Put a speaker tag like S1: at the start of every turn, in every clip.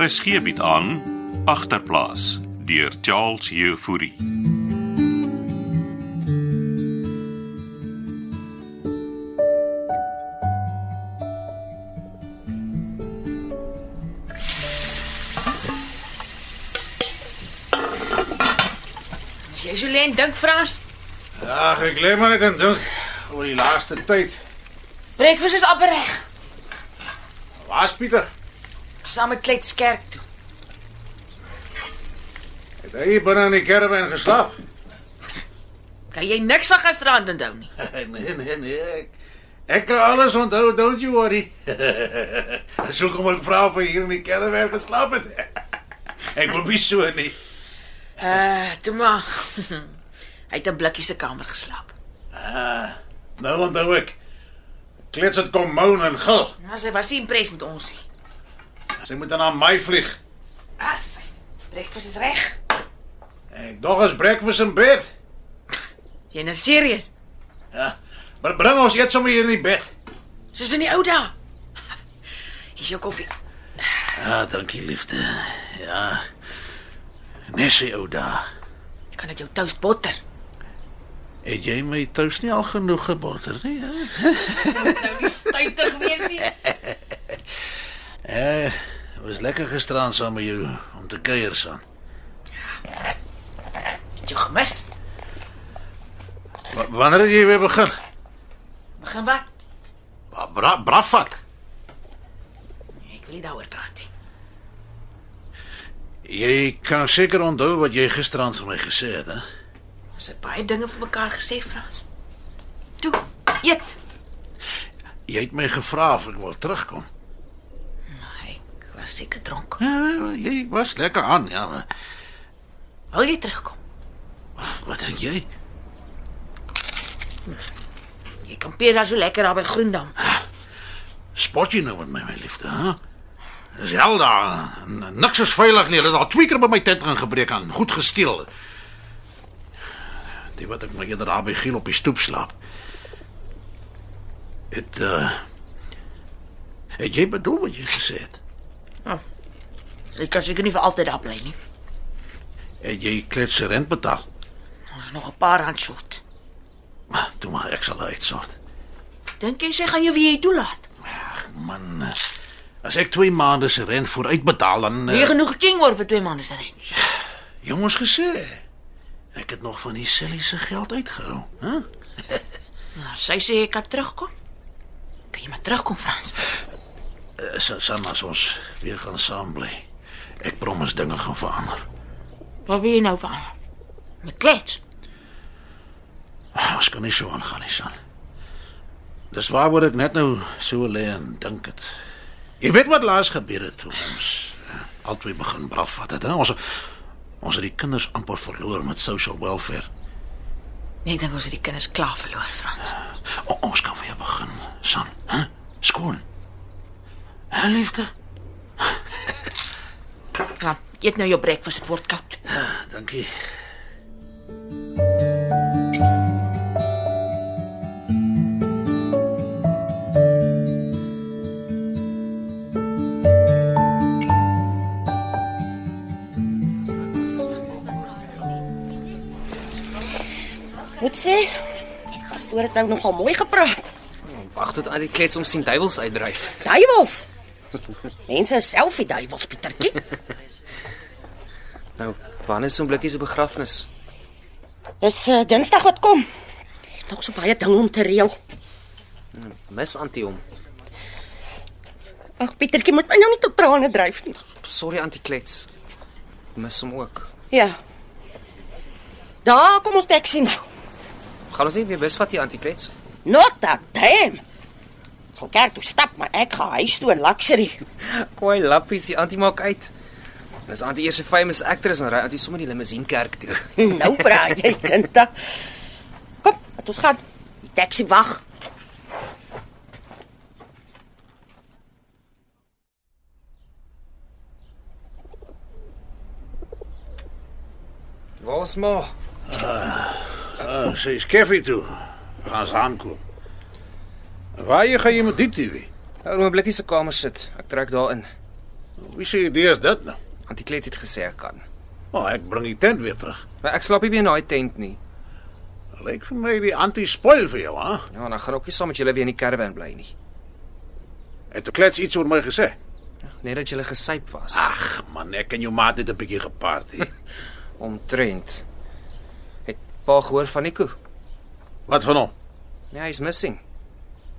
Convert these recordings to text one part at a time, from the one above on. S1: RSG bied Er aan agterplaas deur Charles Jefouri.
S2: Jy Julien dink Frans,
S3: Ag, ek lê maar net aan dink oor die laaste tyd.
S2: breakfast is amper reg.
S3: Waar's Pieter?
S2: Saam met Klets kerk toe.
S3: Het hy hier binne in die karavaan geslaap?
S2: Kan jy niks van gisteraand onthou nie?
S3: nee, nee, nee. Ek, ek kan alles onthou, don't you worry. so kom ek vra of hy hier in die karavaan geslaap het. ek wil nie so nie.
S2: Uh, toe maar. Hy het in Blikkie se kamer geslaap.
S3: Nou onthou ek. Klets het kom moan en gil.
S2: Maar Nou, sy was nie impressed met ons nie.
S3: Sy moet dan na my vlieg.
S2: As. Breakfast is reg.
S3: Ek dog as breakfast in bed.
S2: Jy nou serieus?
S3: Ja. Maar bring ons eet sommer hier in die bed.
S2: Soos in die ou dae. Hier is jou koffie.
S3: Ja, Ah, dankie liefde. Ja. Nes hy ou daai.
S2: Kan ek jou toast botter?
S3: Het jy my tous nie al genoeg gebotter nie? Hè?
S2: Nou nie stytig wees nie.
S3: Eh, het was lekker gisteraan saam met jou om te kuier saam.
S2: Het jou gemis?
S3: Wa- Wanneer het jy weer begin?
S2: Begin wat?
S3: Wa- Bra brafat.
S2: Nee, Ek wil nie daaroor praat nie.
S3: Jy kan seker onthou wat jy gisteraan vir my gesê het, hè?
S2: Ons het baie dinge vir mekaar gesê, Frans. Toe, eet.
S3: Jy het my gevra of ek wil terugkom.
S2: Ek was seker dronk.
S3: Ja, jy was lekker aan, ja. maar
S2: Wil jy terugkom?
S3: Wat dink jy?
S2: Jy kampeer daar so lekker daar by Groendam.
S3: Spot jy nou met my, my liefde, hè? Dis hel daar. N- Niks is veilig nie. Hulle het al twee keer by my tent ingebreek aan, goed gesteel. Die wat ek maar eerder daar by Giel op die stoep slaap. Het uh Het jy bedoel wat jy gesê het?
S2: Ek kan seker nie vir altyd daar bly nie.
S3: Het jy klets se rent betaal?
S2: Ons is nog 'n paar rand short.
S3: Maar toe maar ek sal uitsort.
S2: Dink jy sy gaan jou weer hier toelaat?
S3: Man, eh, as ek 2 maande se rent vooruit betaal dan
S2: Jy
S3: uh,
S2: genoeg ching oor vir twee maande se rent.
S3: jongens gesê. Ek het nog van die Silly se geld uitgehou, hè?
S2: Maar Nou, sy sê jy kan terugkom. Kan jy maar terugkom, Frans?
S3: Sa- Sam as ons weer gaan saam bly. Ek promis dinge gaan verander.
S2: Wat wil jy nou van? haar? Met klets.
S3: Ons kan nie so aangaan nie, San. Dis waaroor ek net nou so lê en dink het. Jy weet wat laas gebeur het toe ons eh, albei begin braaf vat het. Hè? Ons ons het die kinders amper verloor met social welfare.
S2: Nee, ek dink ons het die kinders klaar verloor, Frans.
S3: O, ons kan weer begin, San. Hè? Skoon. Hè, liefde?
S2: Kom, eet nou jou breakfast, dit word koud.
S3: Dankie.
S4: Moet sê, pastoor het nou nogal mooi gepraat.
S5: Wag tot al die klets om sien duiwels uitdryf.
S4: Duiwels. Mense is self die duiwels, Pietertjie.
S5: Nou, wanneer is so 'n blikkie se begrafnis?
S4: Dis uh, Dinsdag wat kom. Ek het Nog so baie dinge om te reël.
S5: Mis antie hom.
S4: Ag Pietertjie, moet my nou nie tot trane dryf nie.
S5: Sorry antie klets. Mis hom ook.
S4: Ja. Daar kom ons taxi nou.
S5: Gaan ons nie weer bus vat hier antie klets?
S4: Not that damn. Ek Sal kerk toe stap, maar ek gaan huis toe in luxury.
S5: Kwaai lappies, die antie maak uit. Dis antie eers 'n famous actress en ry antie sommer die limousine kerk toe.
S4: Nou praat jy, kinda. Kom, laat ons gaan. Die taxi wag.
S5: Waar's ma?
S3: Oh, sy is koffie toe. Gaan se aankoop. Waar jy gaan jy met die TV?
S5: nou Hou hom 'n blikkie se kamer sit. Ek trek daarin.
S3: Wie se idee is dit nou?
S5: Antie Klet het gesê ek kan.
S3: O, oh, ek bring die tent weer terug.
S5: Maar ek slaap nie weer in daai tent nie.
S3: Lyk vir my die anti-spoil vir jou, hè?
S5: Ja, dan gaan ek ook nie saam met julle weer in die caravan bly nie.
S3: Het 'n klets iets oor my gesê.
S5: Net dat julle gesyp was.
S3: Ag man, ek en jou maat het 'n bietjie gepaard hier.
S5: Omtrent. Het pa gehoor van Nico?
S3: Wat van hom?
S5: Ja, hy's missing.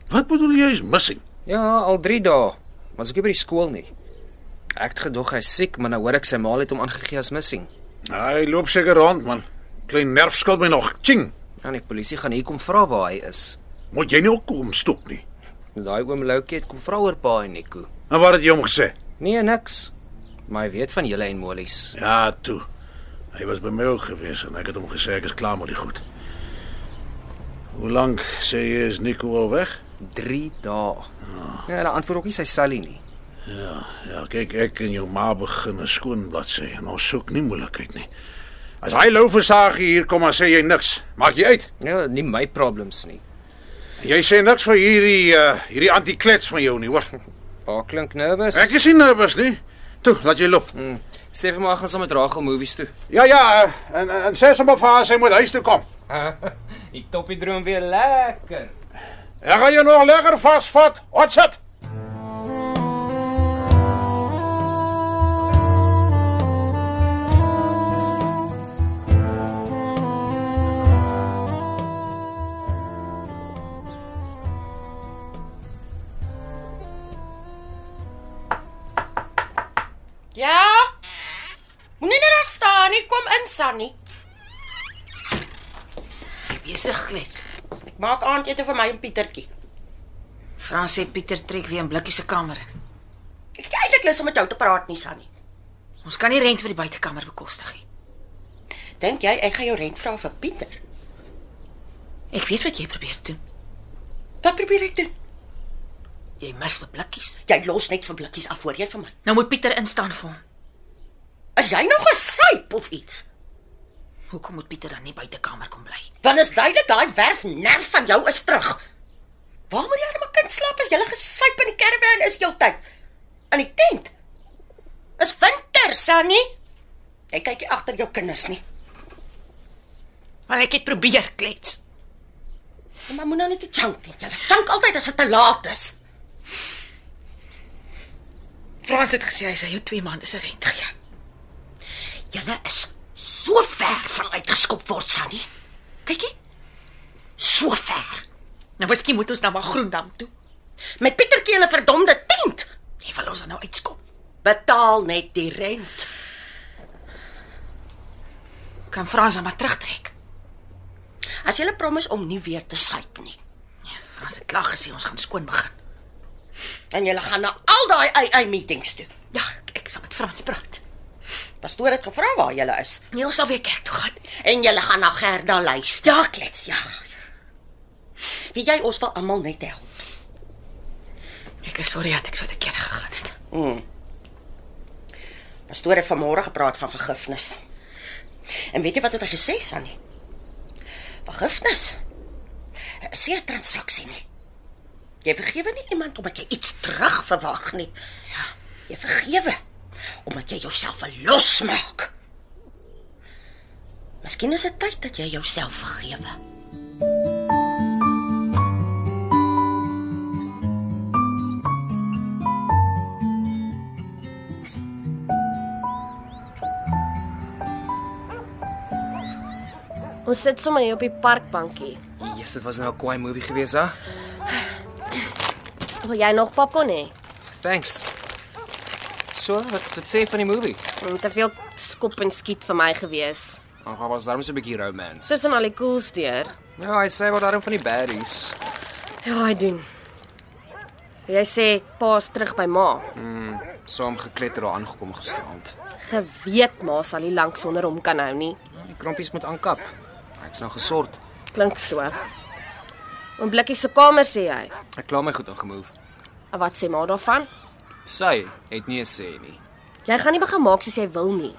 S3: Wat bedoel jy is missing?
S5: Ja, al 3 dae. Maar as ek by die skool nie. Ek het gedog hy's siek, maar nou hoor ek sy ma het hom aangegee as missing.
S3: Nou, hy loop seker rond man. Klein nerf skuld my nog. Ching.
S5: Ja, En die polisie gaan hier kom vra waar hy is.
S3: Moet jy nie ook kom stop nie.
S5: Daai oom Loukie het kom vra oor pa en Nico.
S3: En wat het jy hom gesê?
S5: Nee, niks. Maar hy weet van julle en Molies.
S3: Ja, toe. Hy was by my ook gewees en ek het hom gesê ek is klaar met die goed. Hoe lank sê jy is Nico al weg?
S5: 3 dae. Ja, hulle antwoord ook nie sy Sally nie.
S3: Ja, ja, kyk ek en jou ma begin 'n skoon bladsy en ons soek nie moeilikheid nie. As hy lou versaag hier kom en sê jy niks, maak jy uit.
S5: Ja, nie my problems nie.
S3: Jy sê niks vir hierdie uh, hierdie antiklets van jou nie, hoor.
S5: Pa klink nervus.
S3: Ek is nie nervus nie. Toe, laat jy loop.
S5: Hmm, sê vir my hy gaan saam met Rachel movies toe.
S3: Ja, ja, eh, en en, en sê sommer vir haar sy moet huis toe kom.
S5: Die toppie droom weer lekker.
S3: Ek gaan jou nog lekker vasvat. Wat sit?
S4: Ja. Moenie net daar staan nie, kom in Sannie.
S2: Besig klets.
S4: Ek maak aandete vir my en Pietertjie.
S2: Frans sê Pieter trek weer in Blikkie se kamer in.
S4: Ek het nie eintlik lus om met jou te praat nie, Sannie.
S2: Ons kan nie rent vir die buitekamer bekostig nie.
S4: Dink jy ek gaan jou rent vra vir Pieter?
S2: Ek weet wat jy probeer doen.
S4: Wat probeer ek doen?
S2: Jy mis vir Blikkies.
S4: Jy los net vir blikkies af voorheen vir my.
S2: Nou moet Pieter instaan vir hom.
S4: As jy nou gesyp of iets,
S2: Hoekom moet Pieter dan nie buitekamer kom bly?
S4: dan is duidelik daai werf nerf van jou is terug. Waar moet jy aan 'n kind slaap as jy gesyp in die caravan is heeltyd? In die tent. Is winter, Sannie. Jy kyk nie agter jou kinders nie.
S2: Maar ek het probeer klets.
S4: Maar moenie nou net te chunk nie. Jy chunk altyd as dit te laat is.
S2: Frans het gesê hy sal jou 2 maande se rent gee.
S4: Julle is so ver van uitgeskop word, Sannie. Kykie. So ver.
S2: Nou miskien moet ons nou maar Groendam toe.
S4: Met Pietertjie in 'n verdomde tent.
S2: Jy wil ons dan nou uitskop.
S4: Betaal net die rent.
S2: Kan Frans dan maar terugtrek.
S4: As jy promise om nie weer te syp nie.
S2: Ja, Frans het klaar gesê ons gaan skoon begin.
S4: En jy gaan na al daai AI meetings toe.
S2: Ja, ek, ek sal met Frans praat.
S4: Pastoor het gevra waar jy is
S2: Nee, ons sal weer kerk toe gaan.
S4: en jy gaan na Gerda luister.
S2: Ja, klets, ja.
S4: Wie jy ons wil almal net help.
S2: Ek is sorry dat ek so te keer gegaan het.
S4: Pastoor het vanmôre gepraat van vergifnis. En weet jy wat het hy gesê, Sannie? Vergifnis is nie 'n transaksie nie. Jy vergewe nie iemand omdat jy iets terug verwag nie. Ja, jy vergewe omdat jy jouself wil losmaak. Miskien is dit tyd dat jy jouself vergewe.
S6: Ons sit sommer hier op die parkbankie.
S5: Jesus, dit was nou 'n kwaai movie gewees, hè?
S6: Wil jy nog popcorn hê?
S5: Thanks. So, wat wat sê jy van die movie?
S6: Om te veel skop en skiet vir my gewees.
S5: Ag, daar was darm so 'n bietjie romance.
S6: Tussen al die koels deur.
S5: Ja, hy sê wat daarom van die baddies.
S6: Ja, hy doen. Jy sê pa's terug by ma.
S5: Saam gekletter daar aangekom gisterand.
S6: Geweet ma sal nie lank sonder hom kan hou nie.
S5: Die krampies moet aankap. Ek's nou gesort.
S6: Klink so. Om blikkie se kamer sê hy.
S5: Ek kla my goed ingemove.
S6: En wat sê ma daarvan?
S5: Sy het nie 'n sê nie.
S6: Jy gaan nie begin maak soos jy wil nie.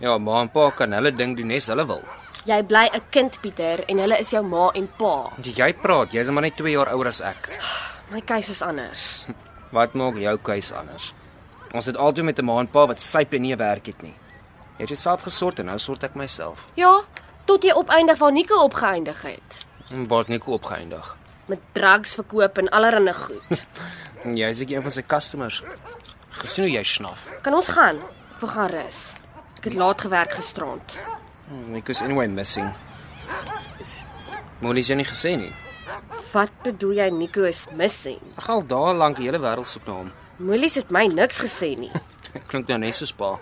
S5: Ja, ma en pa kan hulle ding doen nes hulle wil.
S6: Jy bly 'n kind Pieter en hulle is jou ma en pa.
S5: Jy praat, jy's maar net 2 jaar ouer as ek.
S6: My keuse is anders.
S5: Wat maak jou keus anders? Ons het altyd met 'n ma en pa wat sype nie 'n werk het nie. Jy het jouself gesort en nou sort ek myself.
S6: Ja, tot jy opeindig waar Nico opgeëindig het
S5: En waar het Nico opgeëindig?
S6: met drugs verkoop en allerlei goed.
S5: En Jy Ja, is ek een van sy customers. Gesien hoe jy snaf.
S6: Kan ons gaan? Ek wil gaan rus. Ek het laat gewerk gisterand.
S5: Nico's Hmm, anyway missing. Molly het jou nie gesê nie.
S6: Wat bedoel jy Nico is missing?
S5: Ag al daar lank die hele wêreld soek na hom.
S6: Moelies het my niks gesê nie.
S5: Klink nou net soos pa.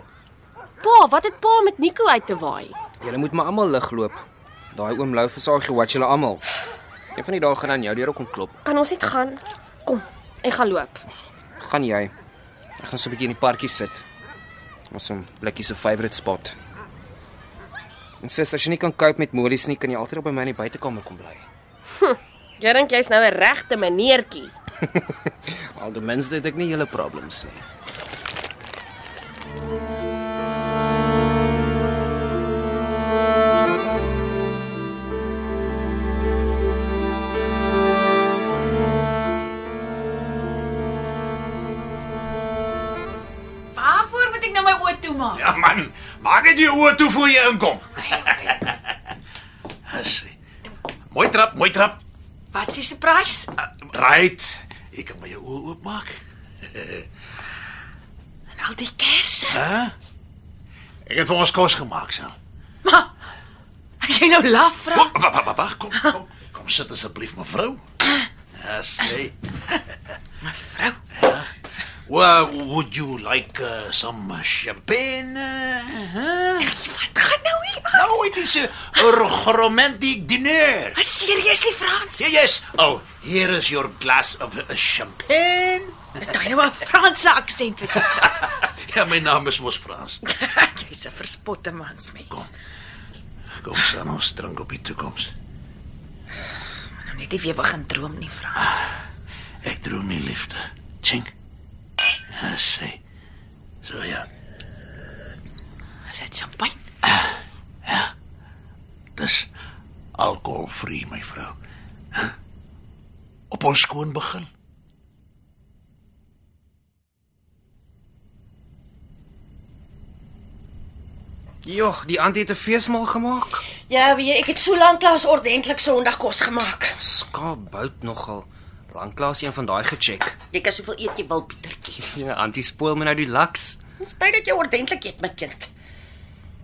S6: Pa, wat het pa met Nico uit te waai?
S5: Julle moet maar almal lig loop. Daai oom Lou versaagie watch julle almal. Een van die dae gaan aan jou deur kom klop.
S6: Kan ons net gaan? Kom, ek gaan loop.
S5: Gaan jy? Ek gaan so 'n bietjie in die parkie sit. Ons hom blikkie se favourite spot. En sies, as jy nie kan cope met molies nie, kan jy altyd op by my in die buitekamer kom bly.
S6: Jy dink jy's nou 'n regte meneertjie.
S5: Al die mense het ek nie hele problems nie.
S2: Waarvoor moet ek nou my oë toemaak?
S3: Ja man, maak net jou oë toe voor jy inkom. Asse. Mooi trap, mooi trap.
S2: Wat is die surprise?
S3: Right. Ek kan my jou oë oopmaak.
S2: En al die kersse.
S3: Ek het vir ons kos gemaak, sal.
S2: Maar as jy nou laf vra,
S3: Wag, wag, wag, wag, kom, kom. Kom sit asseblief, mevrou. Asse.
S2: vrou,
S3: Well, would you like uh, some champagne? Uh, huh?
S2: wat gaan nou hier? aan?
S3: No, it is a r- romantic dinner.
S2: Is seriously Frans?
S3: Yeah, yes. Oh, here is your glass of uh, champagne.
S2: Is daai nou 'n Franse aksent wat jy?
S3: Ja, my naam is mos Frans.
S2: Jy's 'n verspotte mans mens.
S3: Kom staan ons drink op die toekoms.
S2: Nou net nie weer begin droom nie, Frans.
S3: Ek droom nie liefde. Chink. Ja, sê. So ja,
S2: Is dit champagne?
S3: dis alkoholvry, my vrou. Huh? Op ons skoon begin.
S5: Jog, die auntie het 'n feesmaal gemaak.
S4: Ja, wie ek het so lank lank ordentlik Sondagkos gemaak.
S5: Skaapbout nogal. Lanklaas een van daai gecheck.
S4: Jy kan soveel eet jy wil, Pietertjie.
S5: Ja, auntie spoil my nou die laks.
S4: Dis tyd dat jy ordentlik eet, my kind.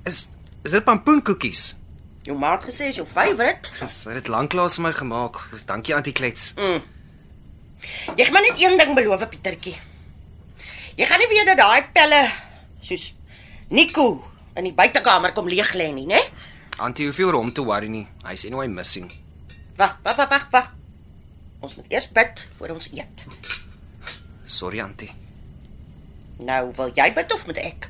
S5: Is is dit pampoenkoekies?
S4: Jou ma het gesê is jou favourite.
S5: Sy het dit lanklaas vir my gemaak. Dankie auntie Klets.
S4: Jy gaan net een ding beloof, Pietertjie. Jy gaan nie weer dat daai pelle soos Nico in die buitekamer kom leeg lê nie, né?
S5: Auntie hoef nie oor hom te worry nie. Hy's anyway missing.
S4: Wag, wag, wag, wag, wag. Ons moet eers bid voor ons eet.
S5: Sorry auntie.
S4: Nou, wil jy bid of moet ek?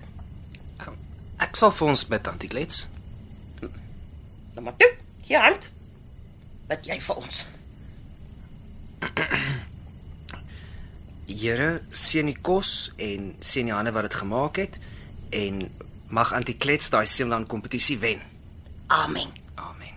S5: Ehm, Ek sal vir ons bid auntie Klets.
S4: Nou maar toe, gee hand. Bid jy vir ons.
S5: Here seën die kos en seën die hande wat dit gemaak het en mag Antiklets daai Seeland kompetisie wen.
S4: Amen.
S5: Amen.